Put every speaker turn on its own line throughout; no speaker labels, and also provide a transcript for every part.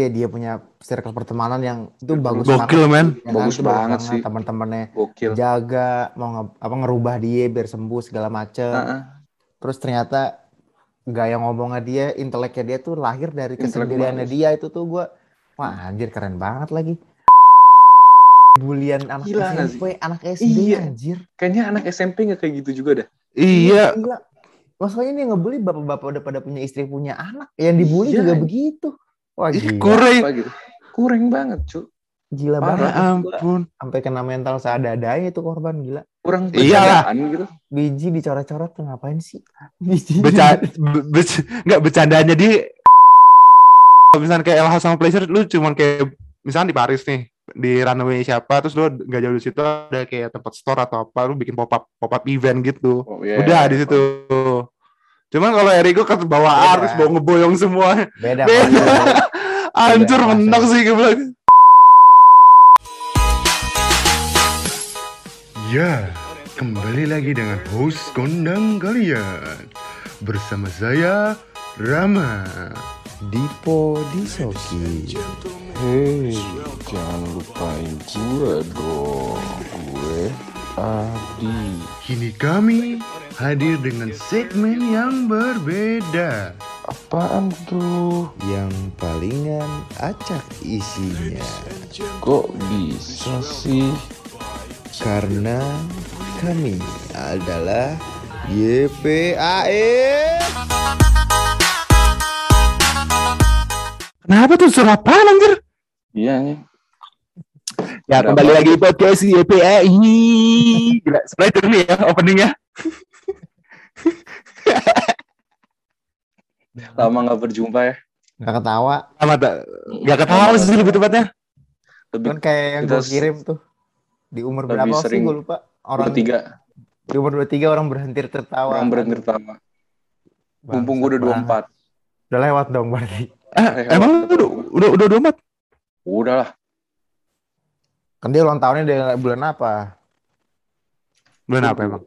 Iya, dia punya circle pertemanan yang itu bagus
Gokil, men.
Ya kan?
Bagus
Itu
banget sih.
teman-temannya
Gokil.
jaga mau nge- apa ngerubah dia biar sembuh segala macem
Heeh.
terus ternyata gaya ngomongnya dia inteleknya dia tuh lahir dari
Intelek
kesendiriannya
bagus.
dia itu tuh gua wah anjir keren banget lagi bulian anak
Gila nggak
SMP anak SD
Iya.
anjir
Kayaknya anak SMP nggak kayak gitu juga dah.
Iya,
Gila. Masalahnya ini yang ngebully bapak-bapak udah pada punya istri punya anak yang dibully
Iya.
juga begitu wah
ih,
gila,
kuring.
Apa gitu? Kurang banget, cu.
gila banget
Ya ampun.
sampai kena mental seada-adanya itu korban gila
Kurang
Iyalah.
pencahayaan gitu.
biji dicoret-coret tuh ngapain sih biji
Beca be- be- nggak bercandanya di Kalau misalnya kayak LH sama Pleasure lu cuman kayak misalnya di Paris nih di runway siapa terus lu nggak jauh dari situ ada kayak tempat store atau apa lu bikin pop up pop up event gitu
Oh, iya.
udah di situ cuman kalau Eriko ke
Beda.
bawa arus bawa ngeboyong semua
beda,
Beda.
Pak.
hancur
Beda,
mentok
pasti.
sih gue bilang
Ya, kembali lagi dengan host kondang kalian bersama saya Rama.
Dipo di Soki. Hei, jangan lupain gue dong. Gue Adi.
Kini kami hadir dengan segmen yang berbeda.
Apaan tuh?
yang palingan acak isinya
Kok bisa sih?
karena kami adalah
E.
YPAE
kenapa tuh surapan anjir
Iya nih.
Ya
Berapa?
kembali lagi di podcast YPAI. E, Gila, sebenarnya jernih ya openingnya.
Lama nggak berjumpa ya.
nggak ketawa
Sama tak, gak ketawa sih lebih tepatnya.
Lebih
kan kayak yang
Kita
gue kirim tuh di umur
lebih
berapa sih
sering
gue lupa orang
bertiga.
di umur 23 orang berhenti tertawa
Orang berhenti pertama.
Bangsat
Mumpung gue udah
banget.
24.
udah lewat dong berarti
Eh, emang lu udah udah udah domat?
Udah lah.
kan dia ulang tahunnya dari bulan apa
Bulan apa emang?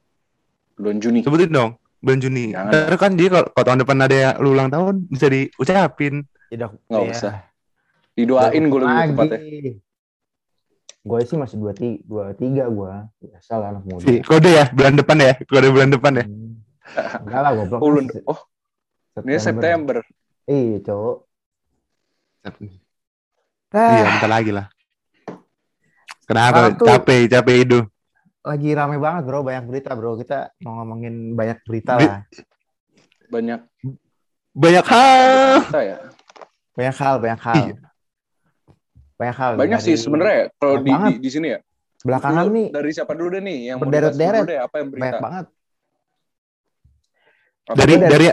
Bulan Juni.
Sebutin dong. Bulan Juni.
Jangan.
Ntar kan dia kalau kalau tahun depan ada yang lu ulang tahun bisa diucapin.
tidak iya.
Nggak usah. Didoain gue lebih tepatnya.
gue sih masih 23 23 gue biasa lah anak muda
Si kode ya, bulan depan ya. Kode bulan depan ya.
Hmm. Enggak lah goblok.
Oh, bulan- oh, ini September.
Iya, cowok.
Iya,
Ah,
bentar lagi lah. Kenapa?
Sekarang tuh-
Capek, capek itu.
lagi rame banget, Bro. Banyak berita, Bro. Kita mau ngomongin banyak berita
Bi-
lah.
Banyak
Banyak hal.
kita ya.
Banyak hal, banyak hal.
Iya.
Banyak hal.
Banyak
dari-
sih sebenarnya ya. Kalau
Banyak
di,
banget.
di, di sini ya.
Belakangan
Dulu
nih
Dari siapa dulu deh nih yang mau
Berderet-deret.
dibahas dulu deh, apa yang berita?
banyak banget.
Apa
Dari
yang-
dari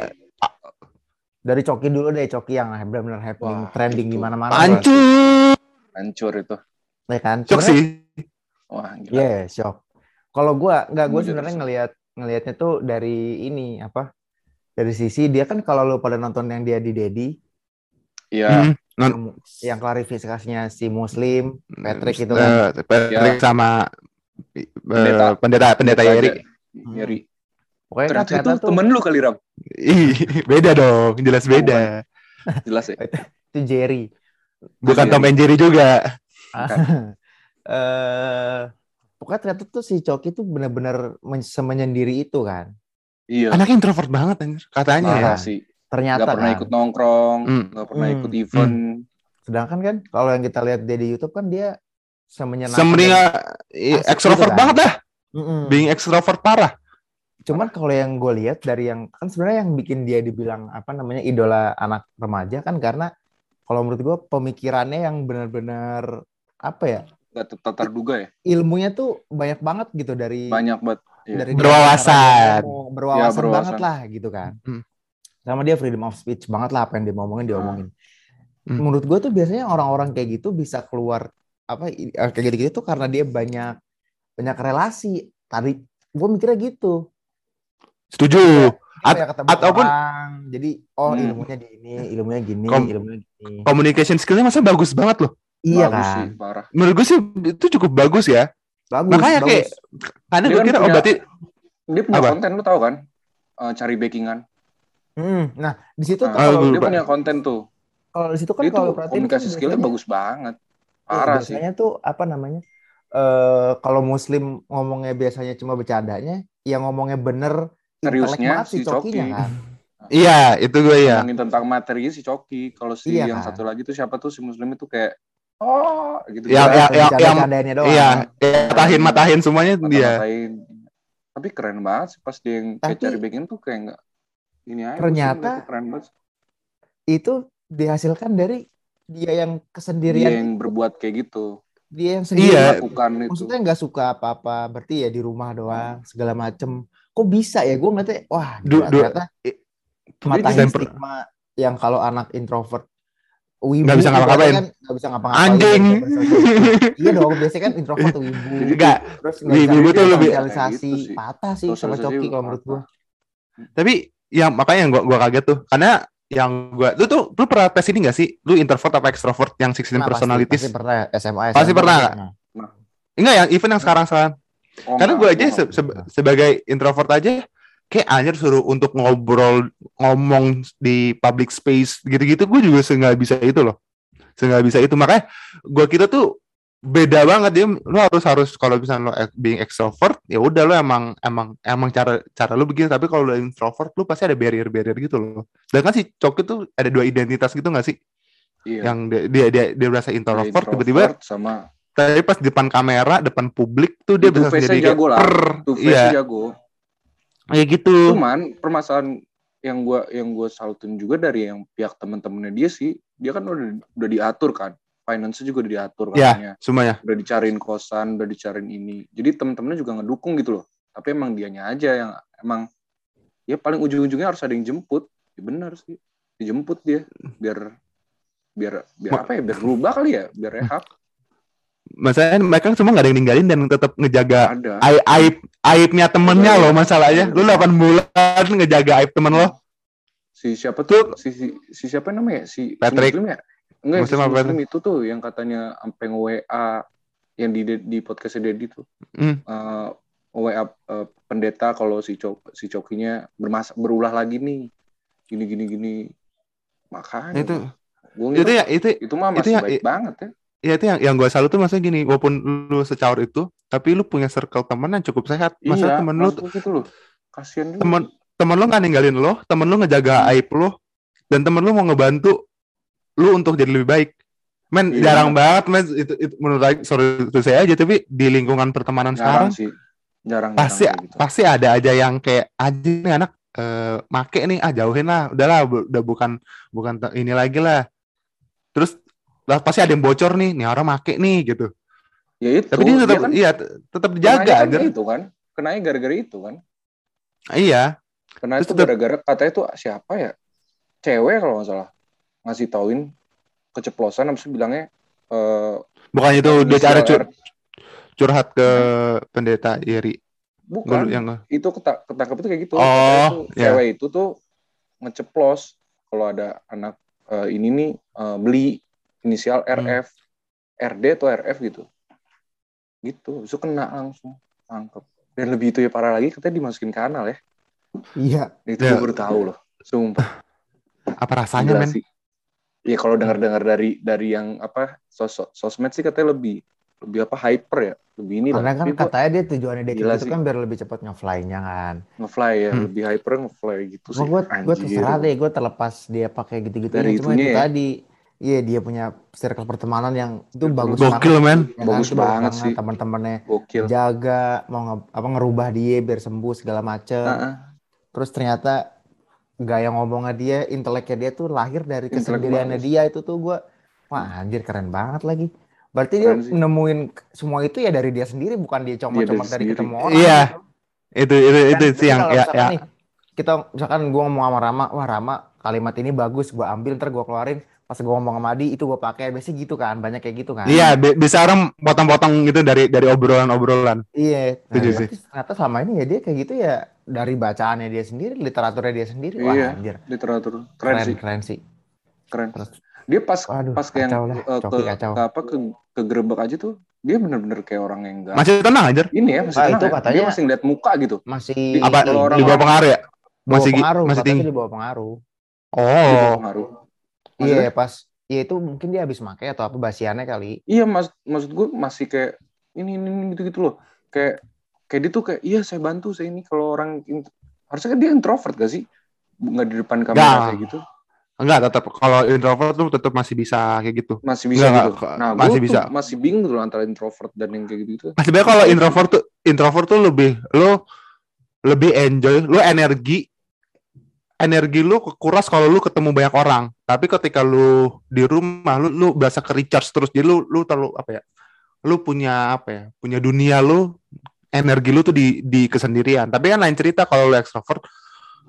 Dari Coki dulu deh, Coki yang benar-benar happening,
Wah,
trending
itu.
di mana-mana. Bro.
hancur.
hancur itu.
Ya kan?
Cok
Sebenarnya-
sih.
Wah, gila.
Iya, shock. Kalau gua nggak gua
Gua
sebenarnya
jadi
ngelihat ngelihatnya tuh dari ini apa? Dari sisi dia kan kalau lu pada nonton yang dia di Dedi,
Iya.
Hmm. Non-
yang, yang klarifikasinya si Muslim, Patrick itu kan.
Eh, Patrick sama eh,
Pendeta.
pendeta
Pendeta
pendeta Erik.
Nyeri.
Pokoknya kan
Ternyata itu
ternyata tuh
temen lu kali Ram.
Ih, beda dong, jelas beda.
Jelas ya.
itu Jerry.
Bukan
Jerry.
Tom and Jerry juga.
eh pokoknya ternyata tuh si Coki tuh benar-benar men- semenyendiri itu kan.
Iya.
Anaknya introvert banget anjir, katanya ya.
Parah sih.
Ternyata
Gak pernah
kan.
ikut nongkrong,
Hmm.
gak pernah
Hmm.
ikut event.
Sedangkan kan kalau yang kita lihat dia di YouTube kan dia semenyenangkan.
Sebenarnya
Asik gitu
ekstrovert
kan.
banget dah,
Mm-mm.
being ekstrovert parah.
Cuman kalau yang gue lihat dari yang kan sebenarnya yang bikin dia dibilang apa namanya idola anak remaja kan karena kalau menurut gue pemikirannya yang benar-benar apa ya
Gak ter- terduga ya.
Iya. ilmunya tuh banyak banget gitu dari
Banyak banget. Iya.
dari
Berwawasan.
cara dia ngomong, berwawasan,
Ya, berwawasan.
banget lah gitu kan.
Hmm.
Sama dia freedom of speech banget lah apa yang dia mau
Ah.
omongin dia omongin.
Hmm.
Menurut gue tuh biasanya orang-orang kayak gitu bisa keluar apa i- eh, kayak gitu-gitu tuh karena dia banyak banyak relasi. Tadi gue mikirnya gitu.
Setuju. At-
Kayak ketemu
ataupun-
orang, jadi oh
Hmm.
ilmunya di ini, ilmunya gini,
Kom-
ilmunya gini.
Communication skillnya masa bagus banget loh.
iya
Bagus
kan?
sih, parah.
Menurut gue sih itu cukup bagus ya.
Bagus,
Makanya
bagus.
kayak karena
Dia
gue
kan
kira oh
punya-
berarti
Dia punya
Apa?
konten lu tau kan? Eh, cari backingan.
Mm, Nah, di situ tuh
Nah,
Ah,
kalau
gue
dia
lupa.
punya konten tuh.
kalau di situ kan
Dia
kalau
tuh
perhatiin
komunikasi
kan
skillnya
biasanya- Iya,
bagus banget. Parah sih.
biasanya tuh apa namanya? eh kalau muslim ngomongnya biasanya cuma bercandanya, yang ngomongnya bener intelek
Seriusnya
banget
si
cokinya
Coki.
kan.
Iya, itu gue ya.
Ngomongin tentang materinya si Coki. Kalau si
Iya,
yang
kan?
satu lagi tuh siapa tuh si Muslim itu kayak oh gitu. Gua
Yang- yang- yang- yang-
Bercanda-bercandanya doang.
Iya, ya, matahin matahin semuanya iya. dia.
mata-matain. Tapi keren banget sih pas dia yang kayak
Tapi-
cari bagian tuh kayak nggak ini aja.
Ternyata-
Muslim itu keren banget.
Itu dihasilkan dari dia yang
Dia
kesendirian,
yang berbuat kayak gitu.
dia yang sendiri.
Iya.
Lakukan itu.
Maksudnya nggak suka apa-apa, berarti ya di rumah doang segala macem. Kok bisa ya? Gue ngeliatnya, wah
Hmm. Du-
gila,
du-
ternyata matahin
Stamper.
stigma yang kalau anak introvert wibu
Nggak bisa ngapa-ngapain.
ibaratnya kan nggak bisa ngapa-ngapain
Anjing.
nggak bisa bersosialisasi. iya dong biasanya kan introvert tuh wibu
Enggak,
terus nggak bisa
wibu tuh lebih- Nah,
sosialisasi
Kayak gitu sih.
patah sih sama
Sosialisasi
coki kalau menurut gua
tapi yang makanya yang gua gua kaget tuh karena yang gua lu tuh lu pernah tes ini gak sih? Lu introvert apa extrovert yang 16
Nah, pasti-
personalities?
pasti pernah SMA
Pasti pernah nggak?
Nah,
Enggak yang event yang sekarang sekarang.
Oh,
Karena
nggak,
gue aja
nggak.
se- se- sebagai introvert aja kayak anjir suruh untuk ngobrol ngomong di public space gitu-gitu gue juga seenggak bisa itu loh seenggak bisa itu makanya gue kira tuh beda banget dia lo harus harus kalau misalnya lo ex- being extrovert ya udah lo emang emang emang cara cara lo begini tapi kalau lo introvert lo pasti ada barrier barrier gitu loh dan kan si Coki tuh ada dua identitas gitu gak sih
Iya.
yang dia dia dia, dia berasa
Dia
introvert tiba-tiba
introvert sama
tapi pas depan kamera depan publik tuh dia
Itu
bisa
face-nya
jadi kayak
jago lah.
"Prrr."
tuh
Iya.
face jago.
Kayak gitu.
Cuman permasalahan yang gua yang gua salutin juga dari yang pihak teman-temannya dia sih, dia kan udah udah diatur kan. Finance juga udah diatur
Iya.
katanya.
Semuanya.
Udah dicariin kosan, udah dicariin ini. Jadi teman-temannya juga ngedukung gitu loh. Tapi emang dianya aja yang emang ya paling ujung-ujungnya harus ada yang jemput. Ya benar sih. Dijemput dia biar biar biar
Ma-
apa ya biar berubah kali ya biar rehab
Masalahnya mereka semua gak ada yang ninggalin dan tetap ngejaga
ada
aib, aib aibnya temennya
Iya.
loh masalahnya. Lu 8 bulan ngejaga aib temen lo.
si siapa tuh si, si, si siapa namanya si si
Patrick.
muslim ya enggak si
Muslim apa
muslim itu tuh yang katanya sampai WA yang di di podcastnya Dedi tuh
Hmm.
Eh, WA eh, pendeta kalau si cok si cokinya bermas berulah lagi nih gini gini gini makanya
Itu
gua ngira,
itu ya itu
itu mah
itu
masih
ya-
baik banget ya
ya itu yang yang gue salut tuh maksudnya gini, walaupun lu secaur itu, tapi lu punya circle temen yang cukup sehat. Masalah Iya, temen lu
Iya, maksud gua gitu loh kasian juga
temen temen lu gak ninggalin lo, temen lu ngejaga aib lo, dan temen lu mau ngebantu lu untuk jadi lebih baik. Men
Iya.
jarang banget men itu, itu menurut aku sorry itu saya aja tapi di lingkungan pertemanan
jarang
sekarang
sih jarang
pasti
jarang kayak gitu.
pasti ada aja yang kayak anjing nih anak eh make nih ah jauhin lah udahlah bu- udah bukan bukan te- ini lagi lah terus lah pasti ada yang bocor nih nih orang make nih gitu
ya itu
tapi dia
dia
tetap
kan
iya te- tetap
kenanya
dijaga
kan
anjir.
itu kan kenanya gara-gara itu kan
iya
Karena
Terus
itu
tetap-
gara-gara katanya tuh siapa ya? Cewek kalau nggak salah ngasih tauin keceplosan habis itu bilangnya eh
bukan itu dia
inisial
cara cur-
R.
curhat ke pendeta Iri
bukan
Gua yang
itu keta- ketangkep itu kayak gitu.
Oh,
Katanya tuh
ya.
Cewek itu tuh ngeceplos kalau ada anak eh, ini nih eh, beli inisial
Hmm.
RF, RD atau RF gitu. Gitu, Habis itu kena langsung tangkep. Dan lebih itu ya parah lagi katanya dimasukin kanal ya.
iya
Itu
Ya.
gue baru tahu loh. Sumpah.
apa rasanya
Gila
men
sih. Iya kalau dengar-dengar dari dari yang apa sos sosmed sih katanya lebih lebih apa hyper ya, lebih ini lah.
karena kan
Tapi gua
katanya dia tujuannya dia
Gila
itu
sih.
kan biar lebih cepat ngefly-nya kan
ngefly ya,
Hmm.
lebih hyper ngefly gitu sih.
Cuma gue gue
Anjir.
terserah deh, gue terlepas dia pakai gitu-gitu.
Dari
Cuma itu
itunya ya.
tadi, iya dia punya circle pertemanan yang itu bagus
Gokil,
banget. Ya
men.
kan?
Bagus
Itu bagus
banget sih.
Teman-temannya
Gokil.
jaga mau nge, apa ngerubah dia biar sembuh segala macem.
Heeh.
Terus ternyata gaya ngomongnya dia, inteleknya dia tuh lahir dari
Intelek
kesendiriannya
bagus.
dia itu tuh gue, wah anjir keren banget lagi. Berarti
Keren
dia
sih.
nemuin semua itu ya dari dia sendiri, bukan dia
Dia
cuma-cuma
dari
dari
sendiri.
ketemu orang.
Iya. itu itu itu
Dan-
sih
tapi
yang
Nah, kalau
ya,
misalkan
ya.
nih, kita misalkan gue ngomong sama Rama, wah Rama kalimat ini bagus, gue ambil ntar gue keluarin. Pas gue ngomong sama Adi itu gue pakai, biasanya gitu kan, banyak kayak gitu kan.
iya bi- bisa orang potong-potong gitu dari dari obrolan-obrolan
Iya. Nah,
Setuju sih.
berarti ternyata selama ini ya dia kayak gitu ya dari bacaannya dia sendiri, literaturnya dia sendiri. Wah
Iya.
anjir,
Literatur keren,
keren
sih,
keren sih.
keren.
Terus-
Dia pas
Waduh,
pas ke yang
kacau lah,
eh, ke,
Coki kacau.
ke apa ke ke gerebek aja tuh dia bener-bener kayak orang yang enggak.
masih tenang aja
ini ya masih
Ah,
tenang
itu
ya.
katanya-
dia masih ngeliat muka gitu.
Masih
apa
Kalau
di
orang-
bawah pengaruh ya
masih
masih gi-
pengaruh,
masih
katanya
tinggi
di bawah pengaruh.
oh
pengaruh.
Iya pas Iya itu mungkin dia habis make atau apa basiannya kali.
Iya mas, maksud gue masih kayak ini ini, ini, gitu gitu loh. Kayak kayak dia tuh kayak iya saya bantu saya ini kalau orang in- harusnya kan dia introvert gak sih? Nggak di depan kamera
Nggak.
kayak gitu.
Enggak, tetap kalau introvert lu tetap masih bisa kayak gitu.
Masih bisa
Nggak,
gitu.
nggak,
Nah,
masih
gue
bisa.
tuh masih bingung tuh antara introvert dan yang kayak gitu. gitu.
Masih banyak Nah, kalau introvert tuh introvert tuh lebih lu lebih enjoy, lu energi energi lu kekuras kalau lu ketemu banyak orang. Tapi ketika lu di rumah lu lu berasa ke recharge terus jadi lu lu terlalu apa ya? Lu punya apa ya? Punya dunia lu energi lu tuh di di kesendirian. Tapi kan lain cerita kalau lu extrovert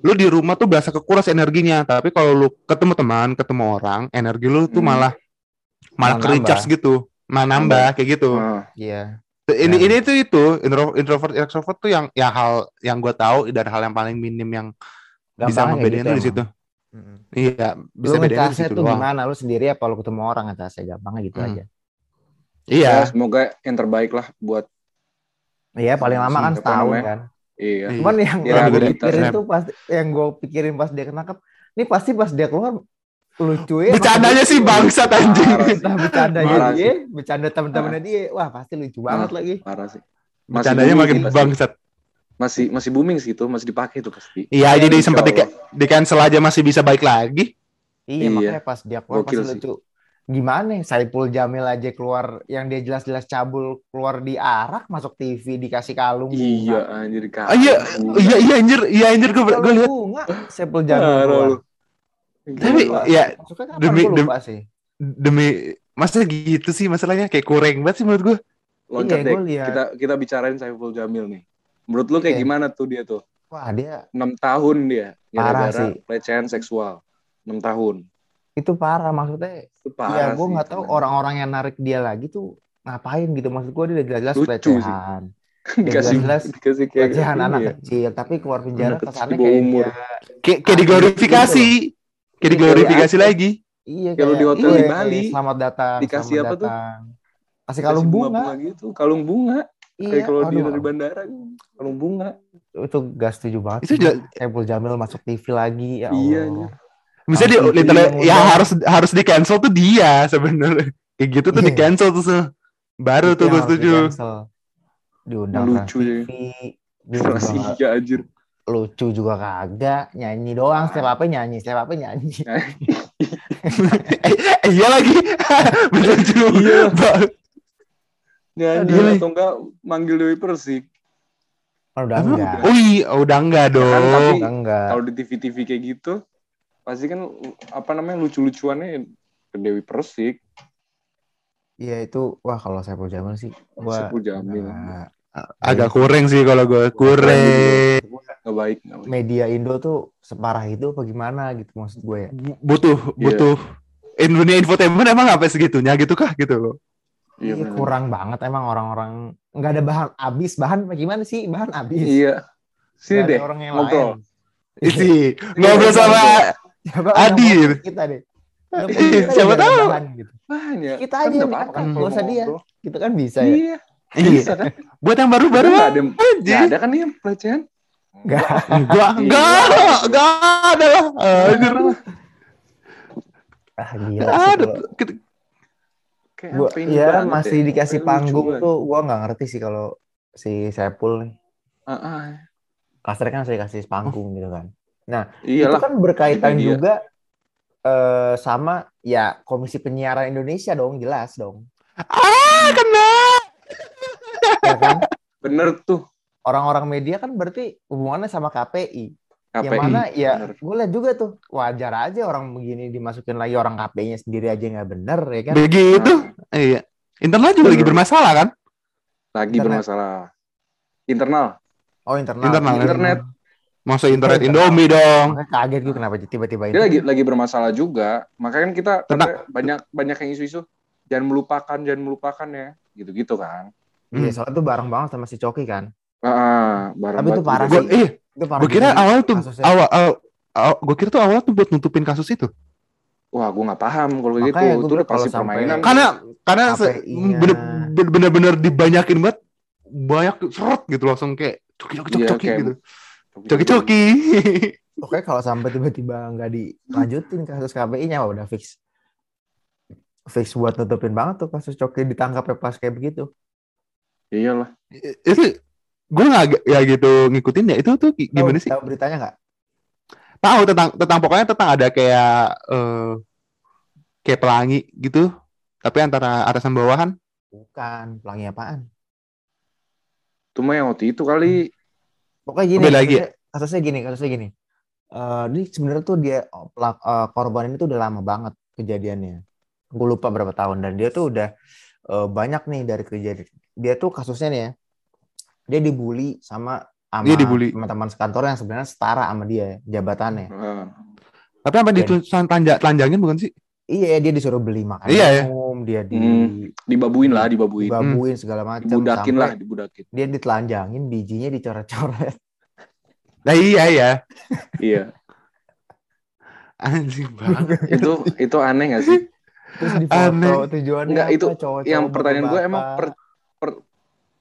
lu di rumah tuh berasa kekuras energinya, tapi kalau lu ketemu teman, ketemu orang, energi lu tuh
Hmm.
malah
Malah
malah ke recharge gitu, malah nambah kayak gitu.
Nah,
Iya. Ya.
Ini ini tuh itu intro- introvert extrovert tuh yang ya hal yang gue tahu dan hal yang paling minim yang bisa
Gampangnya gitu
ngebedain tuh di
emang.
situ.
Mm-mm.
Iya, bisa
Lu
bedain di
ngecasnya
situ
tuh
doang.
gimana? Lu sendiri apa lu ketemu orang ngecasnya? Gampangnya gitu
Hmm.
aja.
Iya,
ya, semoga yang terbaik lah buat
Iya paling lama kan
Apa
setahun
namanya?
kan.
iya.
Iya.
Cuman yang
Iya,
gue
bener.
pikirin
Snap.
tuh pas yang gue pikirin pas dia ketangkep, ini pasti pas dia keluar lucuin.
bercandanya sih bangsat anjing.
Parah sih,
Nah, bercandanya
Parah
dia, bercanda temen-temennya dia, wah pasti lucu banget lagi.
parah sih. Masih
Bercandanya
booming
makin
sih, pasti.
bangsat.
masih masih booming sih itu, masih dipakai tuh pasti.
Iya, jadi
Insya
sempat di,
Allah.
di cancel aja masih bisa baik lagi.
Iya,
Iya.
makanya pas dia keluar
Gokil
pasti
sih.
lucu. Gimana ya, Saipul Jamil aja keluar, yang dia jelas-jelas cabul keluar di arak, masuk TV, dikasih kalung.
Iya anjir kak.
Ah, iya, Iya, iya anjir, iya anjir gue
bunga.
gue
Kalung
lihat.
bunga, Saipul Jamil keluar.
Parah lu.
Tapi
Gila.
ya
Masuknya kapan?
Demi-
Gua lupa sih.
demi masa gitu sih masalahnya kayak kurang banget sih menurut gue.
iya,
loncat deh.
gua lihat.
Kita kita bicarain Saiful Jamil nih. Menurut lu kayak
Iya.
gimana tuh dia tuh?
Wah, dia
6 tahun dia
Parah
gara-gara
sih.
pelecehan seksual. 6 tahun.
itu parah maksudnya. ya,
Itu parah
gue
sih,
nggak tahu
temen.
orang-orang yang narik dia lagi tuh ngapain gitu. Maksud gue dia udah jelas-jelas
Lucu sih.
pelecehan.
dikasih
jelas-jelas
dikasih kayak
Pelecehan
ini
anak
ya.
kecil, tapi keluar penjara
Anak kecil
kesannya
di bawah
kayak
umur.
dia
Kayak kayak
Ah,
diglorifikasi. Kayak
Iya,
diglorifikasi lagi.
Iya,
Kayak lu di hotel di Bali,
Selamat datang.
dikasih
selamat
apa tuh?
datang. Kasih
Dikasih
kalung bunga.
bunga gitu, kalung bunga.
Iya,
Kayak kalau di
aduh,
dari bandara kalung bunga.
itu gak setuju banget.
Itu
sih.
jelas-
Saiful Jamil masuk TV lagi, ya Allah.
Iya, anjir.
Bisa dia
Langsung dia
literally ya
ngundang.
harus harus di cancel tuh dia sebenarnya. Kayak gitu tuh
Iya.
di cancel tuh se- baru
Itu yang
tuh gue
harus
setuju.
di-cancel. Diundang
Lucu
Trans
ya.
TV, dia
Masih
juga
iya anjir.
lucu juga kagak, nyanyi doang, setiap apa nyanyi, setiap apa nyanyi.
Eh, eh, iya lagi. Bener juga.
Iya.
Ba-
Nyanyi
Aduh.
atau enggak manggil Dewi Persik.
Kalau udah enggak.
Oh iya, udah enggak
Kan,
dong.
tapi-
Udah enggak.
kalau di TV-TV kayak gitu pasti kan apa namanya lucu-lucuannya ke Dewi Persik
Iya itu, wah kalau Saiful Jamil sih, gua
Saiful Jamil.
Nah,
Agak kurang sih kalau gue kurang.
nggak baik nggak baik
media Indo tuh separah itu apa gimana gitu maksud gue ya.
Bu- Butuh
Iya.
butuh. In dunia infotainment emang apa segitunya gitu kah gitu loh.
iya
Iya,
bener.
kurang banget emang orang-orang nggak ada bahan abis bahan bagaimana sih bahan abis
iya sini
Nggak ada
deh
orang yang
ngobrol.
lain
Isi ngobrol sama
Siapa yang
Adi.
ngomongin kita deh Nggak perlu
Iya,
kita
siapa
nggak ada
tahu.
bahan gitu.
banyak
Kita aja
nggak
nih,
apa-apa
kan,
kalau
nggak usah
mau
dia.
ngobrol.
kita kan bisa ya
iya
Iya.
bisa kan
Buat yang baru-baru
Iya.
nggak ada
aja.
nggak ada kan nih yang pelecehan
nggak
Gua enggak, enggak ada lah. Anjir.
ah, gila sih
Nggak ada.
kalau
Kita-
kayak
gua
apa ini
ya
banget
masih
ya?
dikasih
Apa ini
panggung
lucu
tuh gua nggak ngerti sih kalau si Saipul nih
banget? Ah, ah.
kasarnya kan saya kasih panggung gitu kan
iyalah
itu kan berkaitan
Iya.
Itu dia.
juga eh, sama ya Komisi Penyiaran Indonesia dong jelas dong
Ah, kena.
ya kan
bener tuh
orang-orang media kan berarti hubungannya sama KPI. Yang
KPI
mana ya
bener.
gue lihat juga tuh wajar aja orang begini dimasukin lagi orang KPI-nya sendiri aja nggak bener ya kan.
Begitu.
Nah,
Iya. Internal juga lagi bermasalah kan?
lagi
Internet.
bermasalah internal
Oh internal.
Internal.
Internet.
Masa internet
Internal.
Indomie dong.
Makanya kaget gue kenapa tiba-tiba
dia
ini.
lagi lagi bermasalah juga makanya kan kita
Tentang-
katanya banyak banyak yang isu-isu jangan melupakan jangan melupakan ya gitu-gitu kan
Iya
Hmm.
soalnya tuh bareng banget sama si Coki kan.
ah barang
Tapi itu
batu
parah
juga.
Gua eh,
Itu parah.
gua kira
juga.
awal tuh
kasusnya.
awal awal awal- gua kira tuh awal tuh buat nutupin kasus itu.
wah gue nggak paham kalau kayak gitu
Makanya gua
itu udah
bilang kalau
pasti
sampai- kan
permainan
Karena karena se-
KPI-nya.
bener- bener-bener dibanyakin banget banyak seret gitu langsung kayak coki coki coki
Iya,
coki
kayak
gitu. Coki coki.
Oke, kalau sampai tiba-tiba nggak dilanjutin kasus KPI-nya, wah, udah fix. Fix buat nutupin banget tuh kasus Coki ditangkap ya pas kayak begitu.
Iyalah.
I- itu gue nggak ya gitu ngikutin ya itu tuh gi-
Tahu-
gimana sih
Tahu beritanya nggak?
tahu tentang tentang pokoknya tentang ada kayak eh, kayak pelangi gitu tapi antara atasan bawahan
Bukan, pelangi apaan?
Cuma yang waktu itu kali
Pokoknya gini,
Beda lagi ya?
kasusnya- kasusnya gini, kasusnya gini. Eh, ini sebenarnya tuh dia oh, pelak- eh, korban ini tuh udah lama banget kejadiannya. Gue lupa berapa tahun dan dia tuh udah eh, banyak nih dari kejadian. Dia tuh kasusnya nih ya. Dia dibully sama sama
Dia dibully.
teman-teman sekantor yang sebenarnya setara sama dia jabatannya.
eh,
tapi apa
Dan-
ditulisan tanja, telanjangin bukan sih
Iya, dia disuruh beli makanan
Iya, ya.
umum, dia di
Hmm. dibabuin lah, dibabuin.
dibabuin segala macam sampai
Dibudakin lah, dibudakin.
dia ditelanjangin bijinya dicoret-coret.
nah, iya iya
Iya.
anjing banget
Itu itu aneh gak sih?
Terus difoto
Aneh.
tujuannya
Enggak, itu
cowok
yang pertanyaan gue emang per- per-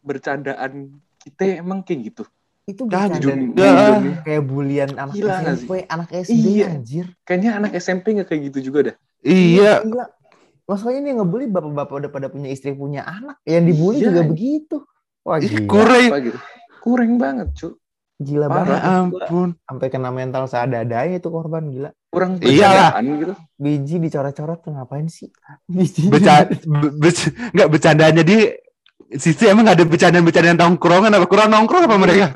bercandaan kita emang kayak gitu
itu
Dah,
bercanda
di
jujur.
nih.
dunia, di
Ah.
dunia.
kayak bulian anak
Gila nggak
SMP, anak SD
Iya.
anjir.
kayaknya anak SMP nggak kayak gitu juga dah
iya
Gila. Maksudnya ini yang ngebully bapak-bapak udah pada punya istri punya anak, yang dibully
Iya.
juga begitu. Wah
Ih,
gila,
kurai
Apa gitu kurang banget cu
gila
ya
banget.
ampun
Sampai kena mental seadanya itu korban gila.
kurang
Iyalah.
bercandaan gitu
Biji dicoret-coret tuh ngapain sih? Biji.
Beca be- be- nggak bercandanya di sisi emang nggak ada bercandaan-bercandaan tongkrongan apa kurang nongkrong apa mereka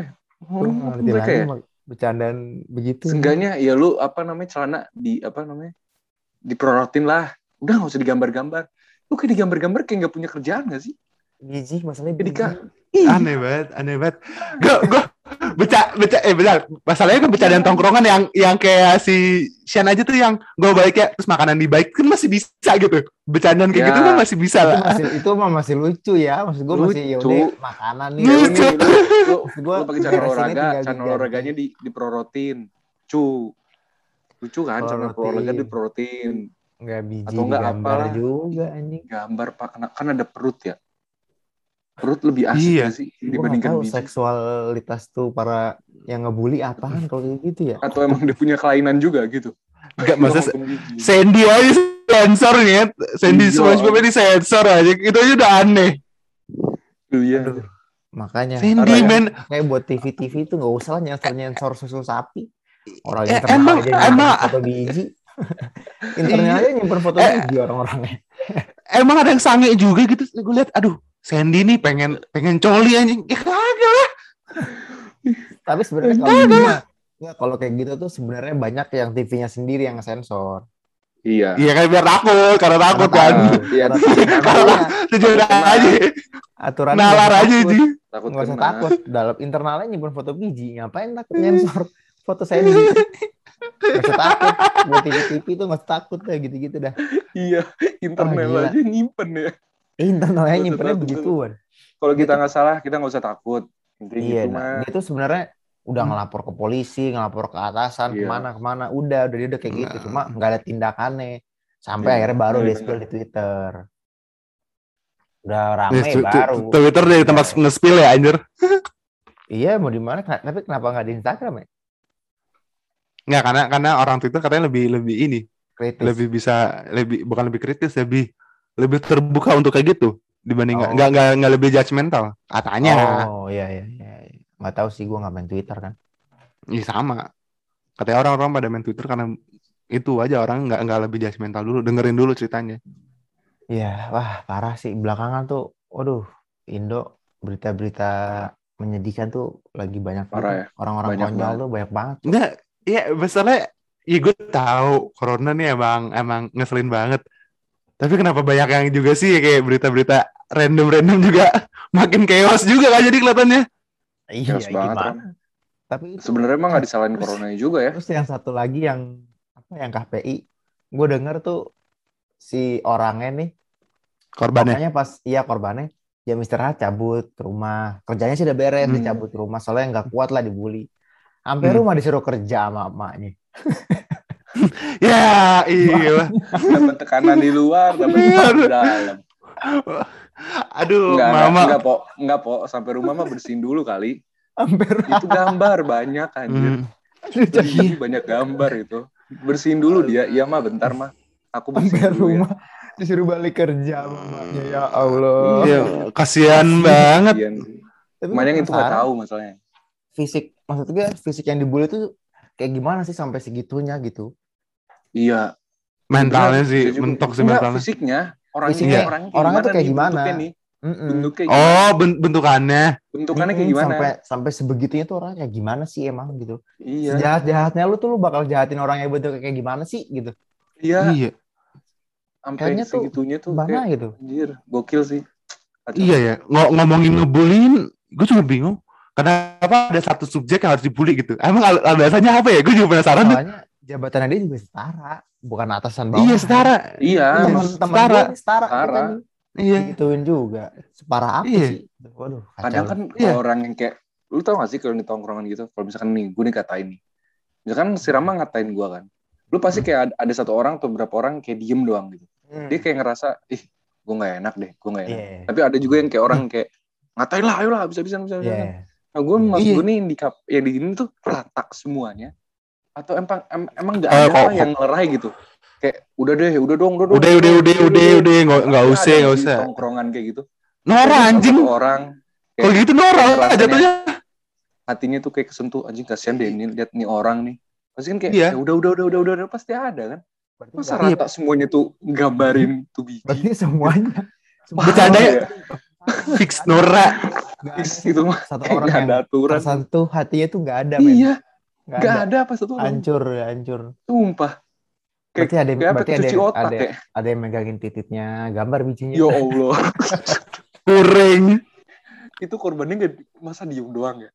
Gua
Orang
nggak ngerti
mereka
lagi
ya
sama bercandaan begitu.
seenggaknya ya lu apa namanya celana di apa namanya diperorotin lah udah nggak usah digambar-gambar lu kayak digambar-gambar kayak nggak punya kerjaan gak sih
Biji masalahnya
jadi
biji.
kak
Iya.
aneh banget aneh banget gue gue beca beca eh benar masalahnya kan bercandaan tongkrongan yang yang kayak si Sian aja tuh yang gue baik ya terus makanan di baik kan masih bisa gitu bercandaan kayak
Ya.
gitu kan masih bisa
Itu
lah
masih itu mah masih lucu ya. Maksud gue masih ya
Lucu.
udah makanan nih.
lu,
Lucu.
lu, lu,
Maksud
lu
Iya, gua,
Iya, pakai celana
beres ini
olahraga
tinggal
celana
diganti.
olahraganya di, diperorotin cu lucu kan celana
Perorotin.
olahraga diperorotin
Enggak biji
Atau nggak
digambar
apalah.
juga anjing.
gambar pak Kena- kan ada perut ya perut lebih asik
Iya.
nggak sih
Gue nggak
dibandingkan
tahu
biji
seksualitas tuh para yang ngebully apaan kalau kayak gitu ya.
atau emang dia punya kelainan juga gitu
nggak masa
Ngomong ke biji.
Sandy aja sensor nih ya Sandy
Iya.
SpongeBob ini sensor aja itu aja udah aneh
iya
Aduh. Makanya
Sandy
Parah ya.
men
kayak buat TV-TV tuh nggak usah lah nyensor-nyensor susu sapi. Orang
Eh,
yang terkenal
emang-
aja nyimpen
emang-
foto biji. Internet
Iya.
aja nyimpen foto
Eh.
biji orang-orangnya.
emang ada yang sange juga gitu gue lihat aduh Sandy nih pengen pengen coli anjing ya kagak lah.
Tapi sebenarnya kalau gitu mah- nggak, kalau kayak gitu tuh sebenarnya banyak yang TV-nya sendiri yang sensor.
iya
iya kan biar takut karena takut kan
Karena takut.
Iya.
Karena takut.
jujur aja
aturan
nalar aja
takut.
sih
takut
nggak usah
kena.
takut dalam internalnya nyimpen foto biji ngapain takut sensor foto saya biji nggak usah takut buat TV TV tuh nggak usah takut dah gitu gitu dah
iya
Oh,
internal
gila.
aja nyimpen ya
Eh, internalnya
Nggak usah
nyimpennya
takut.
begituan
kalau kita nggak salah kita nggak usah takut Intinya
iya
gitu
nah,
mah
dia tuh sebenarnya udah ngelapor ke polisi ngelapor ke atasan
Iya. Nah.
kemana kemana udah udah dia udah kayak gitu cuma nggak ada tindakannya sampai
Iya,
akhirnya baru
iya,
di spill di Twitter udah rame
Nih, tu- tu-
baru
Iya. Twitter dari tempat nge-spill ya anjir.
iya mau di mana tapi kenapa nggak di Instagram ya
Enggak karena karena orang Twitter katanya lebih lebih ini,
kritis
lebih bisa lebih bukan lebih kritis, lebih lebih terbuka untuk kayak gitu
Oh.
dibanding nggak nggak nggak nggak lebih judgmental katanya.
oh iya iya iya nggak tahu sih gue nggak main Twitter kan
Iya sama. Katanya orang-orang pada main Twitter karena itu aja orang nggak nggak lebih judgmental dulu, dengerin dulu ceritanya.
Iya, wah parah sih. Belakangan tuh, waduh, Indo berita-berita menyedihkan tuh lagi banyak
Parah ya.
banget. Orang-orang
Banyak
konyol
banget.
tuh banyak banget.
Enggak, iya masalahnya Iya gue tahu corona nih emang emang ngeselin banget. Tapi kenapa banyak yang juga sih kayak berita-berita random-random juga makin chaos juga kan jadi kelihatannya.
Iya,
Chaos banget,
gimana?
Ron.
Tapi itu
sebenarnya mah nggak disalahin coronanya juga ya
terus yang satu lagi yang apa yang KPI, gue denger tuh si orangnya nih,
Korbannya.
makanya pas iya korbannya jam istirahat cabut ke rumah. Kerjanya sih udah beres,
Hmm.
dia cabut ke rumah soalnya nggak kuat lah dibully. Sampai
Hmm.
rumah disuruh kerja sama emaknya.
Ya, iya.
dapat tekanan di luar dapat tekanan di dalam
Aduh,
nggak
mama.
nggak po nggak po sampai rumah mah bersihin dulu kali
Sampai
itu gambar banyak anjir
Hmm.
Iya.
Iya.
Jadi banyak gambar itu. Bersihin dulu dia. Iya mah bentar mah. Aku
sampai
bersihin dulu ya.
rumah disuruh balik kerja sama emaknya. ya Allah
Iya, kasihan banget.
Oh. Iya.
Tapi
Makanya itu nggak
penasaran,
tahu masalahnya.
fisik maksud gue fisik yang dibully tuh kayak gimana sih sampai segitunya gitu
Iya.
Mentalnya sih
Jadi,
mentok sih
enggak,
mentalnya.
fisiknya. Orangnya,
Fisiknya.
orangnya
Orangnya tuh kayak
nih,
gimana?
bentuknya nih?
Mm-mm.
Bentuknya gimana?
Oh, ben- bentukannya.
Bentukannya kayak
Mm-mm,
gimana?
Hmm, sampai sampai sebegitunya tuh orang kayak gimana sih emang gitu
Iya.
jahat jahatnya lu tuh lu bakal jahatin orang yang bentuknya kayak gimana sih gitu
Iya.
Iya,
Sampai
Kayaknya tuh
segitunya tuh kayak,
mana gitu
anjir, gokil sih. Kacau.
iya ya. Ngo- ngomongin ngebullying, gue juga bingung. Kenapa ada satu subjek yang harus dibully gitu? Emang al- alasannya apa ya? Gue juga penasaran. deh.
soalnya jabatannya dia juga setara bukan atasan bawah
Iya, setara.
Iya.
teman teman
Setara.
setara setara, kita
Setara.
nih.
Iya.
digituin juga separah apa
Iya.
sih waduh kacau.
kadang kan
Iya.
kalau orang yang kayak lu tau gak sih kalau di tongkrongan gitu kalau misalkan nih gue dikatain nih misalkan si Rama ngatain gue kan lu pasti kayak ada, ada satu orang atau beberapa orang kayak diem doang gitu
Hmm.
dia kayak ngerasa ih gue nggak enak deh gue nggak enak
Iya.
tapi ada juga yang kayak orang kayak ngatain lah ayolah bisa bisa bisa
Iya.
nah gue maksud
Iya.
gue nih yang di kap- yang di ini tuh rata semuanya atau emang em- emang nggak
Eh,
ada
kok-
apa yang lerai gitu kayak udah deh udah dong udah dong
Udah, udah, udah, udah, udah, nggak nggak
Ada
usah, nggak
sih
usah.
tongkrongan kayak gitu
Nora
Ada
anjing.
satu orang
Kalau gitu Nora
Rasanya-
jatuhnya.
hatinya tuh kayak kesentuh anjing kasihan deh ini lihat nih orang nih pasti kan kayak
Iya.
ya udah udah udah udah udah udah, pasti ada kan
Berarti
masa
nggak-
rata semuanya tuh gambarin tuh
Iya. berarti
biji
semuanya semuanya-
Bercanda ya?
Nggak
Fix
ada.
Nora.
Nggak ada.
Fix gitu mah
satu
kayak
orang
nggak
yang
ada aturan
satu hatinya tuh nggak ada men
iya
nggak
nggak
ada
ada apa satu orang
hancur ya, hancur
sumpah Kayak-
berarti ada
nggak apa
berarti ada
cuci otak
ada
ya
ada yang iya. megangin titiknya gambar bijinya
ya allah
Kuring.
itu korbannya nggak masa diem doang ya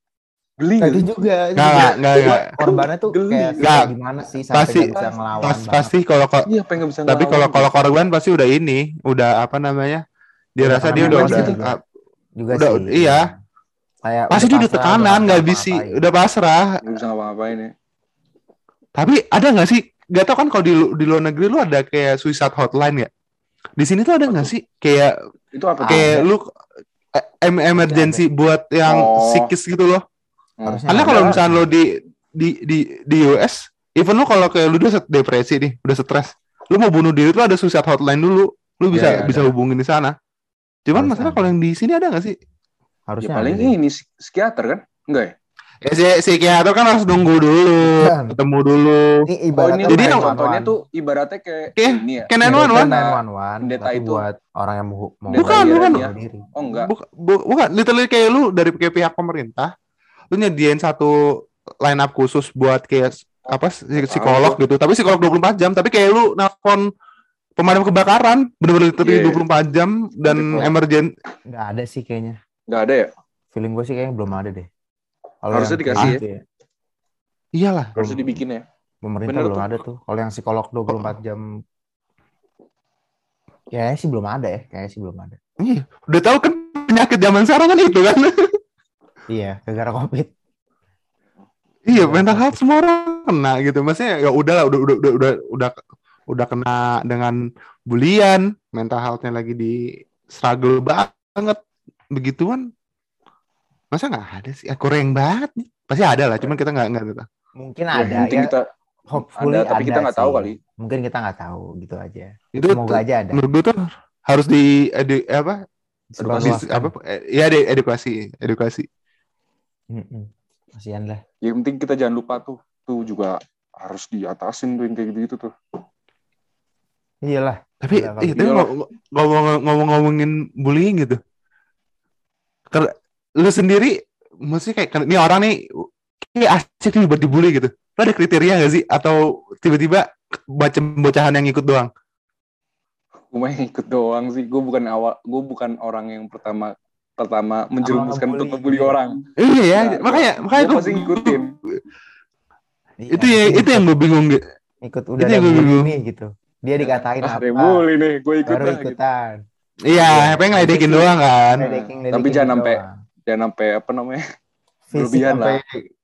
beli gitu.
Nah,
nggak
itu
sih?
juga
Nggak, nggak, nggak, nggak.
korbannya tuh
iya. Geli.
kayak
Nggak.
gimana sih sampai
Pasti-
nggak bisa ngelawan
Pas,
banget.
pasti kalau ko-
iya pengen nggak bisa
tapi kalau
ngelawan.
kalau korban pasti udah ini, udah apa namanya? Dia
Udah
rasa dia
tekanan
udah
pasti
udah
tuh.
ah,
juga
Udah,
sih
iya.
kayak
pasti dia udah
pasrah,
tekanan, nggak bisa,
ngapa-ngapain.
udah pasrah.
nggak bisa ngapa-ngapain ya
Tapi ada nggak sih? Gak tau kan kalau di lu- di luar negeri lu ada kayak suicide hotline ya? Di sini tuh ada nggak sih kayak
itu apa tuh?
kayak lu eh, em emergency buat yang
Oh.
psikis gitu loh.
Hmm.
harusnya
Karena
Ada.
kalau misalnya lo di di di di US, even lo kalau kayak lu udah set- depresi nih, udah stres, lu mau bunuh diri tuh ada suicide hotline dulu, lu bisa
Iya, iya,
bisa hubungin di sana. Cuman
Harus
masalah
ada.
kalau yang di sini ada nggak sih?
ya,
harusnya
paling
ada deh.
ini psik- psikiater kan enggak ya
Ya, si psikiater kan harus nunggu dulu,
Kan.
ketemu dulu.
ini
oh ini
ibaratnya ya,
Jadi
jadi
yang-
contohnya tuh ibaratnya kayak
Kayak-
ini ya
Kan
one
one
Pendeta
tapi
itu.
buat orang yang mau mau
Pendeta
Bukan, bukan.
bunuh diri.
oh enggak
bukan literally kayak lu dari kayak pihak pemerintah, lu nyediain satu line up khusus buat kayak s- apa psi- psikolog gitu. Tapi psikolog 24 jam, tapi kayak lu nelfon pemadam kebakaran bener-bener literally
Iya.
24 jam dan
Betul.
emergen
nggak ada sih kayaknya
enggak ada ya
feeling gue sih kayaknya belum ada deh Kalau
Harusnya
yang kayak
dikasih ya.
gitu
iyalah
harusnya dibikin ya
pemerintah
Bener
belum
tuh. Oh.
ada tuh kalau yang psikolog 24 jam kayaknya sih belum ada ya kayaknya sih belum ada
Iya, udah tahu kan penyakit zaman sekarang kan itu kan.
iya gara-gara covid
iya, mental health semua orang kena gitu. Maksudnya ya udahlah, udah udah udah udah udah udah kena dengan bulian, mental healthnya lagi di struggle banget begituan. Masa nggak ada sih? Eh, kurang banget nih. Pasti ada lah, cuman kita nggak nggak tahu.
mungkin
Ya,
ada
penting
ya
kita
hopefully
ada, tapi kita nggak tahu
sih.
kali.
mungkin kita nggak tahu gitu aja
Itu
semoga
tuh,
aja ada
menurut gue tuh harus di, edu- apa?
Sebagai
di-
luaskan.
apa? eh, Ya di edukasi, edukasi.
Mm-mm. kasihan lah
yang penting kita jangan lupa tuh tuh juga harus diatasin tuh yang kayak gitu gitu tuh
iyalah
tapi
Udah, kalau
iya, tapi
gitu lah.
ngomong- ngomong- ngomong-ngomongin bullying gitu Ker- lu sendiri maksudnya kayak ini orang nih kayak asik nih buat dibully gitu lu ada kriteria gak sih atau tiba-tiba baca bocahan yang ikut doang
gue mah yang ikut doang sih gue bukan awal gue bukan orang yang pertama pertama menjerumuskan untuk
ngebully.
ngebully orang
iya ya
Nah,
makanya makanya
gue pasti ngikutin
Iya,
itu ya itu yang gue bingung gitu.
ikut udah
itu
ada
yang gue
bully
bingung.
nih gitu dia dikatain
ah
apa
ada yang bully nih gue ikut
baru
lah gitu
ikutan
iya apa yang ngeledekin doang kan
Ledeking-ledeking
Tapi jangan sampai
doang.
jangan sampai apa namanya
fisik
berlebihan
sampai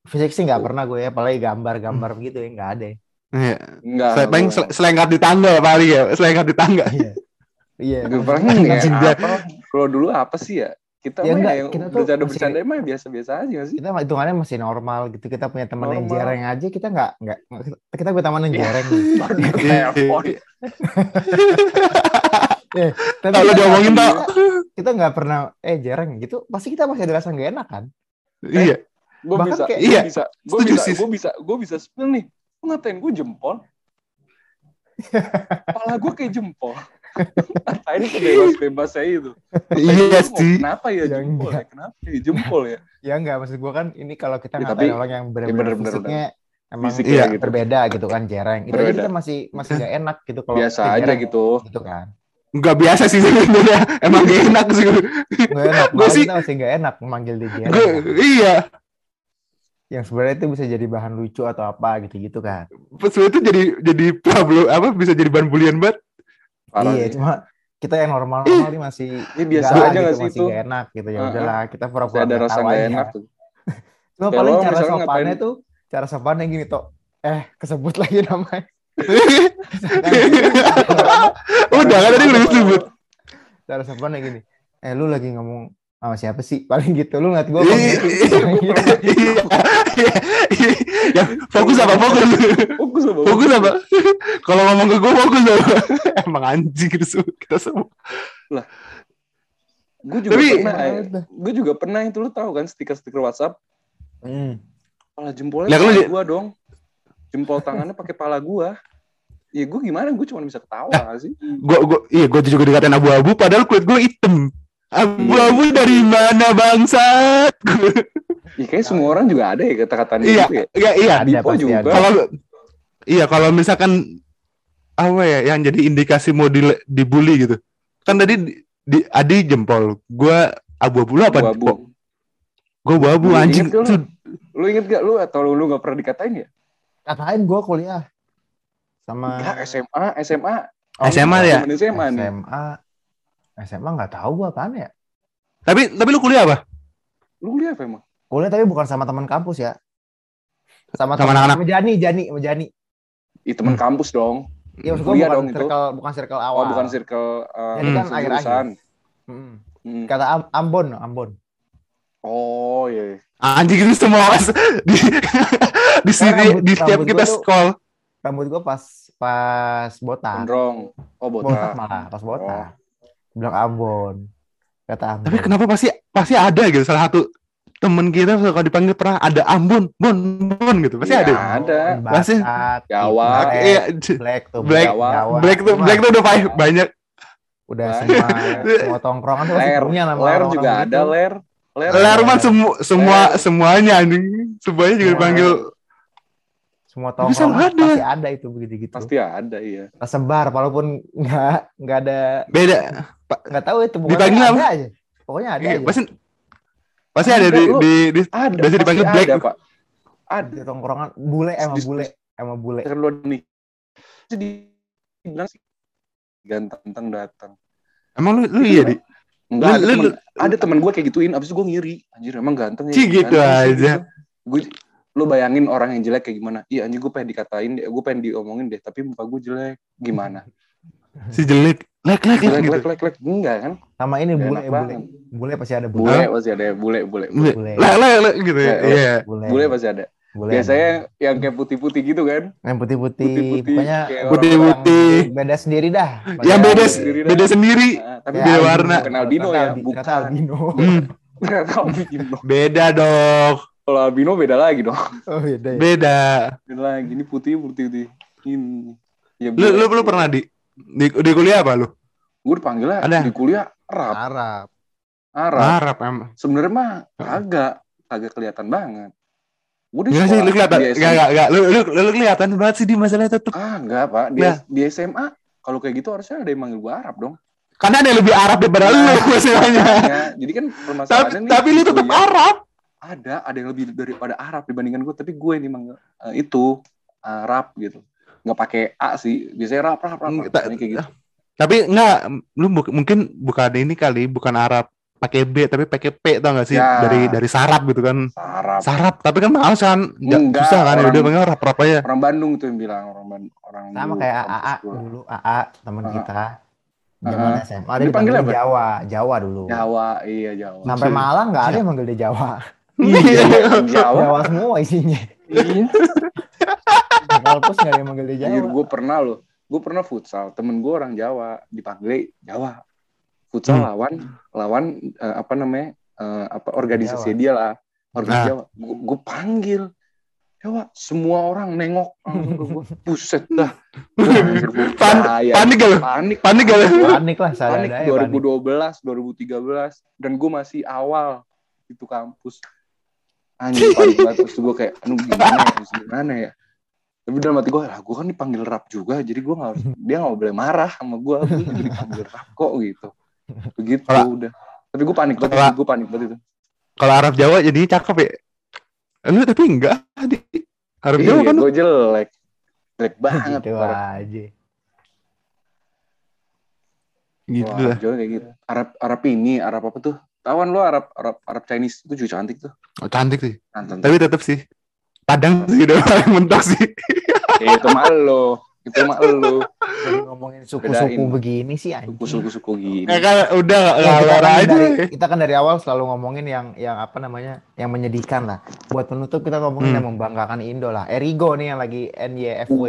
fisik sih nggak pernah gue ya apalagi gambar-gambar begitu ya nggak ada
Iya.
enggak
Sel- paling
enggak.
sel- selengkap di tangga paling ya selengkap di tangga
iya iya
Gue paling ya,
Anjing,
apa, kalau dulu apa sih ya Kita
Ya
mah
enggak,
yang
kita tuh
bercanda-bercanda mah ya biasa-biasa aja nggak sih.
kita hitungannya masih normal gitu kita punya teman yang
Normal.
jereng aja kita nggak nggak kita punya teman yang
Iya.
jereng
Iya.
Telepon.
tapi
Kalau
kita-
diomongin tak?
kita nggak pernah eh jereng gitu pasti kita masih ada rasa nggak enak kan
Iya.
Gue
Bahkan
bisa,
kayak-
Iya.
gue bisa, gue
Setuju,
bisa,
sis.
gue bisa, gue bisa spill nih. Lu ngatain gue jempol. Kepala gue kayak jempol. Ngatain sebebas-bebas saya itu.
Iya sih.
Kenapa ya
Ya
jempol?
enggak.
ya? Kenapa ya jempol ya?
ya nggak maksud gua kan ini kalau kita
Ya,
ngatain
tapi-
orang yang benar-benar
bener-bener
fisiknya emang
Fisik
Iya.
ya gitu.
berbeda gitu kan jereng itu aja
Berbeda.
kita masih masih nggak enak gitu kalau
Biasa
kita
aja
jereng,
gitu.
gitu kan
Gak biasa sih sebenarnya. Emang gak enak sih.
nggak enak
Gua
malah
sih-
kita masih nggak enak memanggil dia jereng
Gue
kan.
iya.
yang sebenarnya itu bisa jadi bahan lucu atau apa gitu gitu kan
Sebenarnya itu jadi jadi problem apa bisa jadi bahan bulian banget.
Parah
iya
sih.
cuma kita yang normal-normal nih masih
Ini biasa
nggak
aja
gitu,
nggak sih
masih
itu?
nggak enak gitu ya
Heeh.
udahlah kita pura-pura
Ada
nggak
rasa
tahu
nggak
aja.
enak tuh.
Cuma
Kayak
paling
lo
cara
misalnya
sopannya
ngapain-
tuh, cara sopannya gini tuh, eh kesebut lagi namanya.
Udah kan tadi udah disebut.
Cara sopannya gini, eh lu lagi ngomong sama siapa sih? Paling gitu, lu ngeliat gue
Iya, iya, iya, iya. Ya, fokus apa fokus?
Fokus sama gua.
Fokus apa? Kalau ngomong ke gue fokus apa? Emang anjing gitu semua, kita semua.
Gue juga
Tapi-
pernah,
gitu.
gue juga pernah itu lu tahu kan stiker-stiker WhatsApp
Hmm.
pala jempolnya
Lah, kalau
pala
di-
gua dong. Jempol tangannya pakai pala gua. Ya gue gimana? Gue cuma bisa ketawa nggak sih.
Gue gue iya gue juga dikatain abu-abu padahal kulit gue hitam. Abu-abu dari mana bangsat?
Ya kayak semua orang juga ada ya kata-kata
Iya,
gitu ya.
iya, iya.
Ada
Dipo
pasti
juga.
ada.
Kalau iya kalau misalkan apa ya yang jadi indikasi mau di, dibully gitu. Kan tadi di, di- Adi jempol, gue abu-abu lu apa?
Abu-abu.
Gue abu-abu
Lu
anjing.
inget gak lu?
Tuh,
Lu inget gak lu atau lu, lu gak pernah dikatain ya?
Katain gue kuliah sama
Enggak, SMA, SMA.
Oh,
SMA ya?
Temen SMA nih.
SMA. SMA nggak tahu gue apaan ya.
Tapi tapi lu kuliah apa?
Lu kuliah apa emang?
Kuliah tapi bukan sama teman kampus ya. Sama,
Sama
teman-
anak-anak.
sama Jani, Jani, sama Jani.
Ih, temen
Hmm.
kampus dong.
Iya, maksud gue
Kuliah
bukan
dong itu.
circle, bukan circle awal.
Oh, bukan circle uh,
Jadi
kan
jurusan.
akhir-akhir. Mm.
Hmm.
Hmm. Kata Am- Ambon, Ambon.
Oh, iya.
Anjing itu semua mas di, di sini
rambut-
di setiap
rambut
kita
gua tuh-
scroll
Rambut gue pas pas botak.
Gondrong. Oh,
botak
botak.
malah pas botak bilang Ambon kata Ambon
Oh. Tapi kenapa pasti pasti ada gitu salah satu temen kita kalau dipanggil pernah ada Ambon, Bon, Bon gitu pasti
Iya,
ada.
ada.
Batak
Masih-
Jawa.
Black,
Oke, iya, j-
Black tuh
Black,
Jawa,
Black tuh
Semua.
Black tuh udah banyak banyak.
udah
Black.
semua semua tongkrongan tuh pasti
Ler.
punya nama
Ler
orang-orang gitu.
juga
begitu.
ada, ler. Ler.
Ler mah semua semua
Ler.
semuanya anjing. Semuanya juga
Ler.
dipanggil
semua
Tapi
tongkrongan
selalu ada.
pasti ada itu begitu gitu
Pasti ada, iya.
tersebar walaupun nggak nggak ada
beda.
nggak tahu itu pokoknya
Dipanggil
ada
apa?
aja pokoknya ada
Iya,
aja
pasti pasti ada di,
ya. Lu-
di, di
Ada,
Biasa
pasti
dipanggil
ada,
Black.
Pak. Ada.
Di tongkrongan bule Eh, emang
Dis-
bule emang bule
Kan lu nih. Jadi bilang sih ganteng datang.
emang lu lu iya di.
Enggak
Lu-
ada,
lu-
temen,
lu-
ada temen gue kayak gituin, abis itu gue ngiri. Anjir emang ganteng ya.
Cih, gitu
Ganteng sih,
aja.
gitu. Gue, lu bayangin orang yang jelek kayak gimana? Iya anjir gue pengen dikatain, deh, gue pengen diomongin deh, tapi muka gue jelek. Gimana?
Gitu. Si jelek, lek lek lek
Jelek,
gitu.
jelek, jelek, jelek. Enggak kan?
sama ini
Enak
bule bule
banget.
bule pasti ada bule
Bule pasti ada, bule, bule.
Lek
Bule.
lek lek gitu. ya.
Lek, lek.
Iya.
bule
Bule pasti ada.
bule
Biasanya yang kayak putih-putih gitu kan?
yang putih-putih
Putih-putih,
pokoknya
kayak
putih-putih.
orang beda sendiri dah
Yang beda
Beda sendiri dah.
beda sendiri.
Nah, tapi
Ya,
dia
beda
albino.
warna.
Bukan albino
Ternyata
ya,
albi-
bukan.
ternyata albino
Hmm.
Ternyata albino.
Beda dong,
Kalau albino beda lagi dong.
oh beda ya
beda.
Beda lagi. Ini putih, putih, putih. Ini. Ya,
Lu lu, lu pernah di, di di kuliah apa lu?
Gue dipanggil lah
Ada. Ah.
di kuliah Arab.
Arab
Arab.
Arab emang.
Sebenarnya mah kagak, kagak kelihatan banget. Gue di
Enggak sih, lu
sekolah,
kelihatan.
di
Enggak
SMA.
enggak enggak. Lu lu, lu kelihatan banget sih di masalah tetep.
Ah, enggak, Pak. Di,
Ya.
di SMA, kalau kayak gitu harusnya ada yang manggil gue Arab dong.
Karena ada yang lebih Arab daripada lu masalahnya.
Ya, jadi kan
Iya. Tapi
permasalahannya Nah. nih,
tapi lu
di
tetep
kuliah
Arab.
Ada, ada yang lebih daripada Arab dibandingkan gue. Tapi gue nih manggil eh, itu, Arab gitu. Nggak pakai A sih. Biasanya Arab, Arab, Arab.
Nggak,
Arab.
tak-
Ini kayak gitu.
Tapi enggak lu bu- mungkin bukan ini kali, bukan Arab pakai B tapi pakai P tau gak sih
Ya.
dari dari sarap gitu kan
Arab.
sarap tapi kan mahal kan Nggak-
Enggak,
susah kan ya
orang-
udah pengen rap rap aja
orang Bandung tuh yang bilang orang Bandung orang
sama
dulu,
kayak
kampus
AA
gua.
dulu AA teman
AA.
kita Zaman
Ah.
SMA dia
Dipanggil
dipanggilnya
apa?
Jawa, Jawa dulu.
Jawa, iya Jawa. Iya,
Sampai Malang nggak ada yang manggil dia Jawa.
Jawa.
Jawa semua isinya.
Iya.
Di kampus nggak ada yang manggil dia Jawa.
Anjir, gue pernah loh. Gue pernah futsal. Temen gue orang Jawa. Dipanggil Jawa. Futsal
Hmm.
lawan lawan eh, apa namanya eh, apa organisasi
Jawa.
dia lah. Organisasi
Nah.
Jawa. Gue panggil Jawa. Semua orang nengok. langsung ke gua. Buset dah. Ya.
Pan-
Bahaya.
Panik gak lu?
Panik.
Panik gak lu?
Gua
Panik lah,
Panik
sadar
2012, 2013 dan gue masih awal itu kampus. Anjing panik banget terus gue kayak aduh gimana ya, terus gimana ya. Tapi dalam hati gue, lah gue kan dipanggil rap juga, jadi gue gak harus, dia gak boleh marah sama gue, gue juga dipanggil rap kok gitu. Begitu
Kalau-
udah. Tapi gue panik
Kalau-
banget, gue panik banget itu.
Kalau Arab Jawa jadinya cakep ya. Lu tapi enggak. Di. Arab Jawa
Iya,
kan.
gue jelek. Jelek banget.
Gitu
parah.
aja.
Gitu
Wah,
lah.
Arab Jawa kayak gitu. Arab, Arab ini, Arab apa tuh? Tawan lo Arab, Arab, Arab Chinese itu juga cantik tuh.
Oh, cantik sih.
Nonton.
Tapi tetap sih. Padang sih udah paling mentok sih.
Ya, itu mah lo. Itu mah lo.
Jadi ngomongin suku-suku
Bedain.
begini sih anjing.
Suku-suku gini.
Ya kan udah
Iya,
nggak
Ya, kita,
ngalor
kan
aja.
dari, kita kan dari awal selalu ngomongin yang yang apa namanya yang menyedihkan lah. Buat penutup kita ngomongin
Hmm.
yang membanggakan Indo lah. Erigo nih yang lagi NYFW.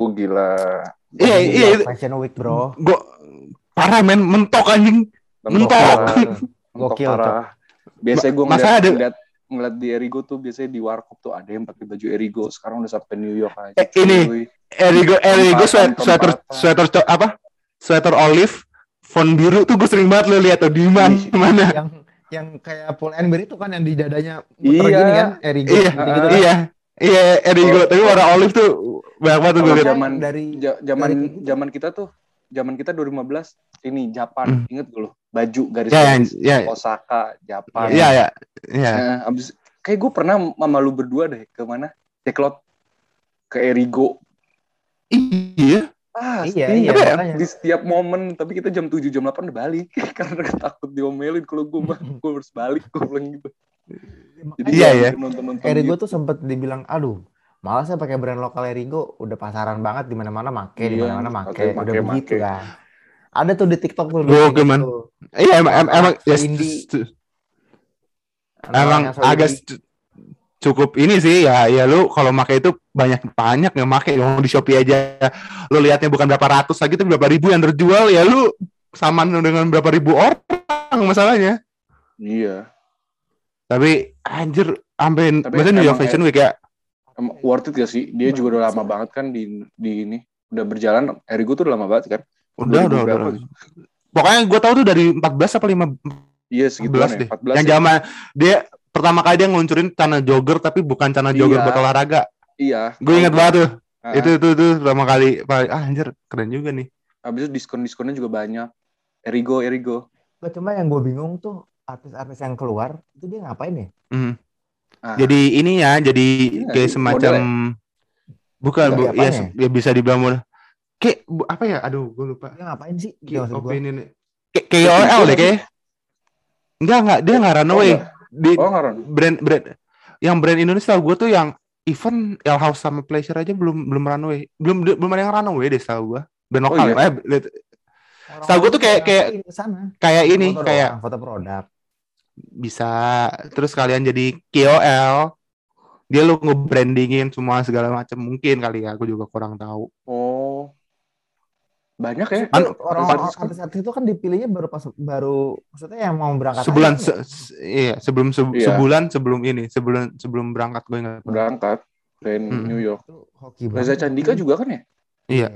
Gue gila.
Iya,
Lagi
iya. itu-
Fashion Week bro.
Gua parah men mentok anjing. Mentok.
parah. Mentok
Gokil tuh.
parah. Biasanya gue
Masalah
ngeliat,
ada-
ngeliat, ngeliat di Erigo tuh biasanya di warkop tuh ada yang pakai baju Erigo. Sekarang udah sampai New York aja.
Eh, ini.
cuy.
Erigo Erigo swe-
Tempatan,
sweater
tempatan.
sweater co- apa? Sweater olive font biru tuh gue sering banget lo lihat tuh di mana
Ih.
mana.
Yang yang kayak Paul Ember itu kan yang di dadanya
Iya.
muter gini kan Erigo
Iya,
gitu-gitu kan.
iya. Iya, Erigo
Oh.
tapi warna olive tuh banyak banget tuh gue
Kalau
lihat.
zaman
dari
Ja- zaman
Dari-
zaman kita tuh, zaman kita 2015 ini Japan. Ingat gue loh. Baju garis
Hmm. Ya,
garis.
ya,
Osaka, Japan.
ya, ya, ya.
Nah, abis kayak gue pernah sama lu berdua deh ke mana? Ceklot ke Erigo.
Iya.
Ah,
Iya,
setiap-
iya, makanya.
di setiap momen, tapi kita jam 7 jam 8 udah balik karena takut diomelin kalau gue mah gue harus balik gue bilang gitu. Jadi ya,
Iya,
jangan
iya.
nonton-nonton
Erigo
gitu.
tuh sempet dibilang aduh malah saya pakai brand lokal Erigo udah pasaran banget di mana-mana make di
Iya,
mana-mana
pakai,
make udah
pakai,
begitu
pakai.
kan. Ada tuh di TikTok tuh gitu.
Gua
bikin
geman.
tuh.
Iya, emang em- emang ya,
Indie.
stu-
Anak-anak
emang
yang selalu
agak
di-
stu- cukup ini sih ya ya lu kalau pakai itu banyak banyak yang pakai dong di Shopee aja lu lihatnya bukan berapa ratus lagi tapi berapa ribu yang terjual ya lu samaan dengan berapa ribu orang masalahnya
Iya.
tapi anjir sampai
Tapi
maksudnya New York
emang
Fashion Week ya
Emang worth it gak sih? Dia juga udah lama banget kan di di ini udah berjalan Erigo tuh udah lama banget kan? 2000
udah udah udah
berapa?
pokoknya gue tahu tuh dari 14 apa 5
Iya segitu ya,
14 deh.
14
yang
ya.
zaman dia pertama kali dia ngeluncurin tanah jogger tapi bukan tanah jogger
Iya.
buat olahraga.
Iya.
Gue inget banget tuh.
Ah,
Itu itu itu pertama kali Paling- ah anjir keren juga nih.
Habis itu diskon-diskonnya juga banyak. Erigo, Erigo.
Gua cuma yang gue bingung tuh artis-artis yang keluar itu dia ngapain ya?
Mm.
Ah.
Jadi ini ya jadi
Iya,
kayak
ini
semacam bukan
Dari
bu, ya,
apanya?
se- ya bisa dibilang model. Kayak bu- apa ya? Aduh, gue lupa.
Dia ngapain sih? Gitu
Kayak
maksud gua.
opinion- Kayak kayak KOL deh kayak. Enggak enggak dia enggak runaway.
enggak.
Di
Oh, ngaron.
brand brand yang brand Indonesia gue tuh yang even L House sama Pleasure aja belum belum runway. Belum belum ada yang runway deh setahu gue. Brand
Oh,
lokal.
iya?
ya, eh, Setahu gua tuh kayak- kayak-
Ngapain kesana?
kayak ini
Foto
kayak
doang, foto produk.
bisa terus kalian jadi KOL dia lu nge-brandingin semua segala macam mungkin kali ya aku juga kurang tahu
Oh. Banyak ya?
Itu
Anu,
Orang-orang
artis-
artis-artis itu kan dipilihnya baru pas baru maksudnya yang mau berangkat
sebulan
aja.
se- se- iya sebelum se-
ya? Iya.
sebulan sebelum ini sebelum sebelum berangkat gue ingat
berangkat dari
Mm-mm.
New York.
itu hoki banget.
Reza Candika juga kan ya?
iya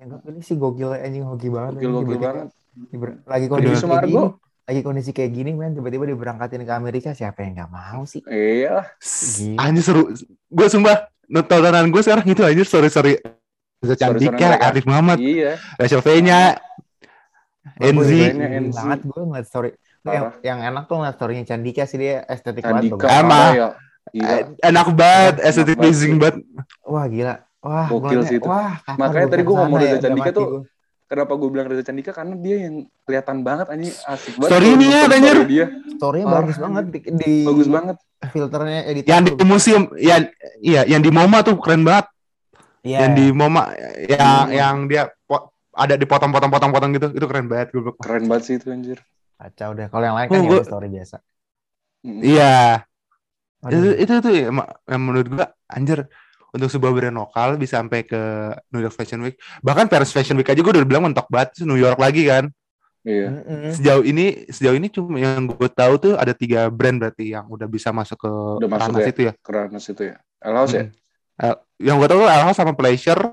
Yang gue pilih sih gokil anjing hoki banget. anjing.
Gokil-gokil
Tiba-tiba-
banget.
tiba- Lagi
Dewi
kondisi kayak
Sumargo.
gini, lagi kondisi kayak gini men tiba-tiba diberangkatin ke Amerika siapa yang nggak mau sih?
Iya.
S-
Gila.
anjir seru gue sumpah tontonan gue sekarang gitu anjir sorry sorry Reza
Sorry, sorry,
Candika,
mereka.
Arif Muhammad,
Iya.
Rachel Fenya, ya. Enzi,
Fenya, ya, Enzi.
banget gue ngeliat story. Yang,
Parah.
yang enak tuh ngeliat storynya Candika sih dia estetik banget.
Candika.
bagus.
Emma.
parah ya. Iya.
Eh,
Eh.
enak banget,
Enak
estetik
banget.
pleasing banget.
Wah gila. Wah,
Gokil
gua ngeliat,
sih itu.
Wah, kapan
Makanya
gua
tadi gua
kesana
ngomong
ya,
Reza
udah
Candika
mati
tuh
gua.
Kenapa gue bilang Reza Candika? Karena dia yang kelihatan banget anjing asik banget.
Story
Kalau
ini ya,
nonton
anjir.
story Dia
storynya
Parah.
bagus banget di, di-
bagus banget.
filternya editan.
Yang di museum, ya, iya, yang di MoMA tuh keren banget.
Iya.
yang di MoMA yang yang dia po- ada dipotong-potong-potong-potong gitu itu keren banget gue bilang.
keren banget sih itu anjir
Kacau deh. Kalau yang lain kan
Oh,
yang
gua-
story biasa.
Mm.
iya itu
Aduh,
itu tuh yang, yang menurut gue anjir untuk sebuah brand lokal bisa sampai ke New York Fashion Week bahkan Paris Fashion Week aja gue udah bilang mentok banget terus New York lagi kan
iya
mm-mm.
sejauh ini sejauh ini cuma yang gue tahu tuh ada tiga brand berarti yang udah bisa masuk ke
Udah masuk
ranah
ya?
situ ya
keren itu ya Elhouse ya
Mm. Eh, yang gue tahu tuh Elhouse sama Pleasure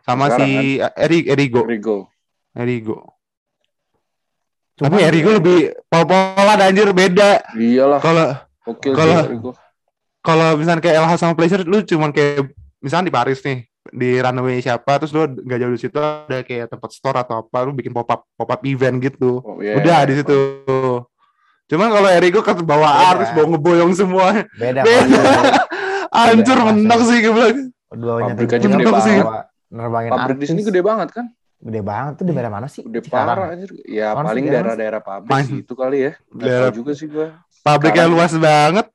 sama
Sekarang kan?
si Eri Erigo
Rigo
Erigo
Cuman-
tapi Erigo lebih pol-polan anjir beda
iyalah
kalau
oke
kalau-
Rigo
kalau misalnya kayak LH sama Pleasure lu cuman kayak misalnya di Paris nih di runway siapa terus lu gak jauh dari situ ada kayak tempat store atau apa lu bikin pop up pop up event gitu
Oh, iya. Iya.
udah di situ cuman kalau Erigo ke
Beda.
bawah arus bawa ngeboyong semua
beda.
beda
Pak.
Iya,
hancur
Beda,
mentok
rasanya.
sih gue bilang
Dua-duanya
Pabrik
kenceng
aja gede
banget,
banget.
bawa- Nerbangin
pabrik di sini
artis.
gede banget kan
Gede banget. Tuh di daerah mana sih?
gede
Cikarang.
parah anjir ya
Orang
paling
Cikarang.
daerah-daerah pabrik
Main.
sih itu kali ya Nggak tahu
Daerah-
juga sih gua
pabriknya
Sekarang-
luas banget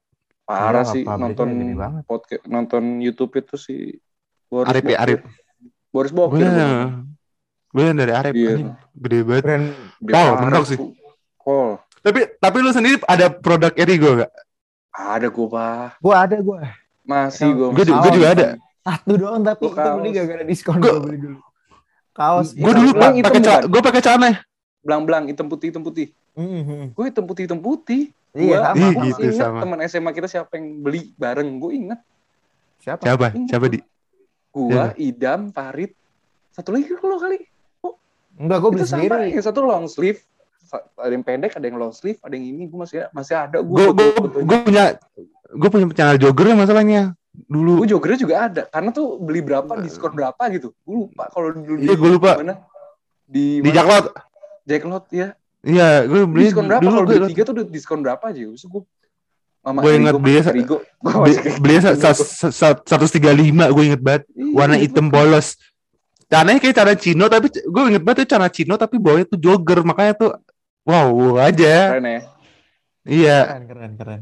parah
Iya,
sih
pabriknya
nonton
gede banget.
podcast nonton YouTube itu si Boris
Arif ya,
Bokir.
Arif.
Boris Bokir
gue gue yang dari Arif
Iya.
anjing. gede banget
Brand
Dia
Kol,
parah,
mentok sih.
Bu. Kol.
tapi tapi lu sendiri ada produk Erigo gak
ada gua pak
gua ada gua. Iya,
masih gua
Gue
masih
juga- gue juga ada.
Satu doang tapi
Gua
itu beli
kaos.
gak gara diskon
Gua-
gua beli dulu. Kaos. Hmm,
gue dulu
Iya. Yang
pa-
hitam
pakai
bukan?
gue pakai celana
belang-belang hitam putih hitam putih
Mhm.
gue hitam putih hitam putih
Iya,
Gua-
sama. sama.
Gua
Ih, gitu.
masih ingat
sama.
teman SMA kita siapa yang beli bareng gue inget
Siapa?
siapa siapa di
gua
Iya.
idam farid satu lagi lo kali
Enggak, gua beli
itu sama
sendiri.
yang satu long sleeve Sa- ada yang pendek ada yang long sleeve ada yang ini gue masih masih ada
gue
gue
gue punya gue punya channel jogger ya masalahnya
gue
dulu
joggernya juga ada karena tuh beli berapa diskon berapa gitu gue lupa kalau dulu
Iya, gua lupa.
di mana di,
di
mana?
Jaklot
Jacklot ya
iya gue beli
diskon berapa
dulu
kalau
gue
beli tiga tuh udah diskon berapa aja Terus gue mama
Gua ingat belinya sa-
Rigo Iya, gue
beli- belinya seratus tiga lima gue inget banget warna hitam bolos caranya kayak cara Cino tapi gue inget banget tuh cara Cino tapi bawahnya tuh jogger makanya tuh wow wow aja
keren ya
iya
Keren, keren, keren.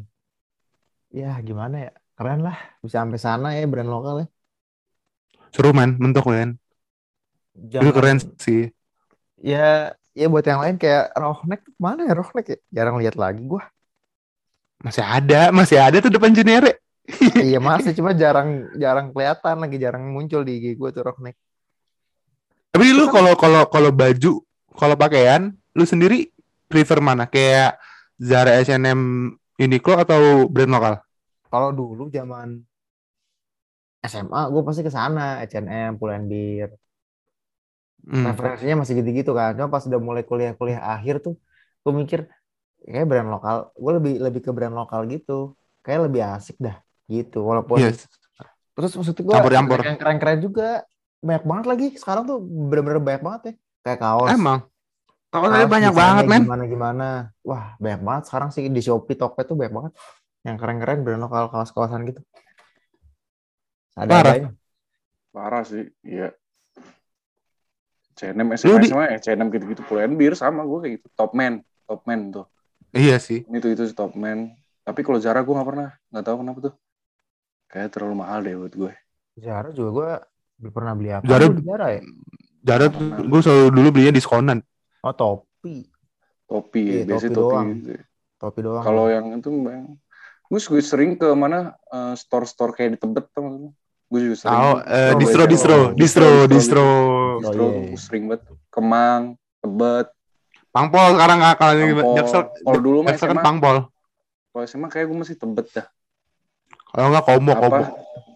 Ya, gimana ya? Keren lah. Bisa sampai sana ya brand lokal ya.
seru man mentok man itu
Jangan-
keren sih
Ya, ya buat yang lain kayak Rohnek tuh mana ya Rohnek ya? Jarang lihat lagi gua.
masih ada masih ada tuh depan jenere
iya masih cuma jarang jarang kelihatan lagi jarang muncul di IG gua tuh Rohnek.
tapi lu kalau kalau kalau baju kalau pakaian lu sendiri prefer mana kayak Zara H&M Uniqlo atau brand lokal
Kalau dulu zaman SMA gue pasti ke sana H&M, Pull&Bear.
Hmm.
Referensinya masih gitu-gitu kan. Cuma pas udah mulai kuliah-kuliah akhir tuh gue mikir kayak brand lokal, gue lebih lebih ke brand lokal gitu. Kayak lebih asik dah gitu. Walaupun
Yes.
terus maksud gue
Iya. Campur-campur.
yang keren-keren juga banyak banget lagi. Sekarang tuh bener-bener banyak banget ya. Kayak kaos.
Emang. Tahun
Kaos
ini Oh,
desainnya
banyak banget, men.
Gimana gimana. Wah, banyak banget sekarang sih di Shopee, Tokped tuh banyak banget. Yang keren-keren brand lokal kaos-kaosan gitu. Ada
Parah.
adanya.
parah sih iya CNM
Lu
SMA
di-
SMA ya CNM gitu-gitu puluhan bir sama gue kayak gitu top man top man tuh
Iya sih.
itu itu sih top man tapi kalau Zara gue nggak pernah nggak tahu kenapa tuh kayak terlalu mahal deh buat gue
Zara juga gue belum pernah beli apa.
Zara-
Lu di Zara ya?
Jarak gue selalu dulu belinya diskonan.
Oh, topi.
topi ya
Iya, topi
biasanya topi,
doang.
gitu.
Topi doang.
kalau yang itu Bang, gue gue sering ke mana eh, store-store kayak di Tebet tuh maksudnya. gue juga sering
Oh, eh,
Store
distro,
banyak.
distro, distro, distro.
distro
Oh, iya,
tuh
iya.
gue sering banget Kemang Tebet
Pangpol sekarang nggak kalau yang
Angkor.
Jaksel,
kalau dulu mah
Jaksel kan
SMA
pangpol.
kalau SMA kayak gue masih Tebet dah
Kalau nggak komo, komo.
apa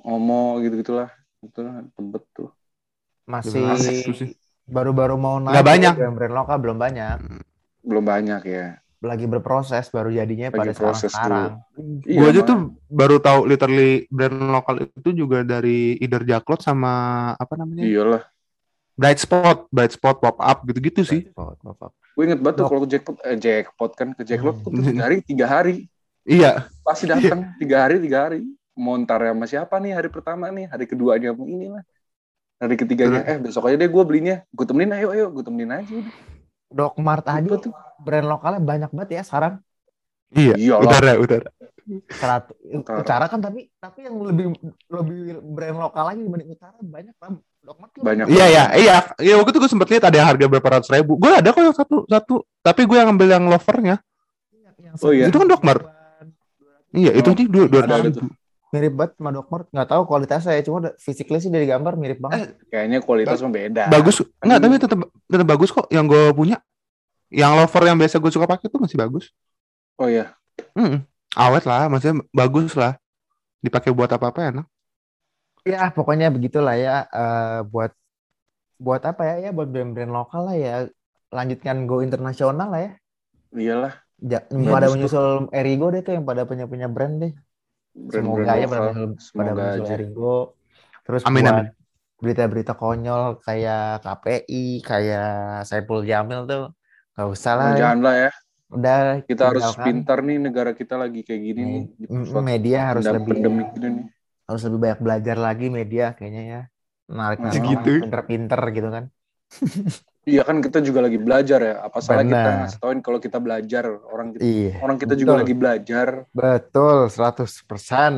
Omo gitu gitulah itu lah Tebet tuh
masih
Asik tuh sih.
baru-baru mau naik.
Nggak banyak.
Brand, brand lokal belum banyak.
belum banyak ya
Lagi berproses baru jadinya
Lagi
pada
proses
sekarang-sekarang.
Iya,
gue aja
Bang.
tuh baru tahu literally brand lokal itu juga dari either Jaklot sama apa namanya
iyalah
Bright Spot, Bright Spot pop up gitu-gitu sih.
Bapak, bapak.
gue inget banget tuh
Dok.
kalau ke jackpot eh, jackpot kan ke jackpot
Hmm.
tuh tiga hari tiga hari
Iya,
pasti datang tiga hari tiga hari mau ntar sama siapa nih hari pertama nih hari keduanya sama ini lah hari ketiganya eh besok aja deh gue belinya gue temenin ayo ayo gue temenin aja udah
Dokmart aja
Ribet tuh
brand lokalnya banyak banget ya sekarang.
iya.
Iyalah.
Utara, utara.
Serat-
Utara.
utara kan tapi tapi yang lebih lebih brand lokal lagi dibanding utara banyak Pak. Dokmat tuh
Banyak.
Iya iya iya. Iya waktu itu gue sempet lihat ada yang harga berapa ratus ribu. Gue ada kok yang satu satu. Tapi gue yang ngambil yang lovernya.
banyak yang
Oh, iya.
Itu kan Dokmar. Iya itu
Oh,
nih dua dua
ada, ada
ratus
tuh.
ribu.
Mirip banget sama Dokmar. Nggak tahu kualitasnya ya, cuma da- physically sih dari gambar mirip banget.
Kayaknya kualitas beda.
Bagus. Enggak
Aduh.
tapi tetap tetap bagus kok yang gue punya. Yang lover yang biasa gue suka pakai tuh masih bagus.
Oh iya.
Mm-mm. Awet lah, maksudnya bagus lah. Dipakai buat apa-apa enak.
Ya pokoknya begitulah ya eh, buat buat apa ya ya buat brand-brand lokal lah ya lanjutkan go internasional lah ya.
Iyalah.
Ja,
Iya,
pada
Bagus tuh.
menyusul Erigo deh tuh yang pada punya punya brand deh.
Brand-brand
Semoga aja
lokal.
pada menyusul, pada
Semoga
menyusul
aja.
Erigo. Terus
Amin,
buat
amin.
berita-berita konyol kayak KPI, kayak Saipul Jamil tuh nggak usah lah. ya.
Janganlah ya.
Udah
Kita harus
tinggalkan.
pintar nih negara kita lagi kayak gini nih.
Me- mm, media harus
Dalam
lebih
pandemi gini nih.
harus lebih banyak belajar lagi media kayaknya ya. Menarik
Nah,
orang
gitu.
pinter-pinter gitu kan.
Iya kan kita juga lagi belajar ya. Apa salah kita
Benar.
ngasih tauin kalau kita belajar orang kita,
Iya.
orang kita juga
Betul.
lagi belajar.
Betul, 100%.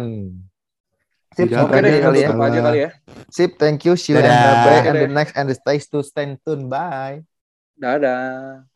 Sip,
Tidak.
sampai
Oke
Oke
deh
deh,
kali ya.
tutup aja kali ya.
Sip, thank you. See you
Dadah.
and bye and
Oke
the
deh.
next and the stays to stand tune. Bye.
Dadah.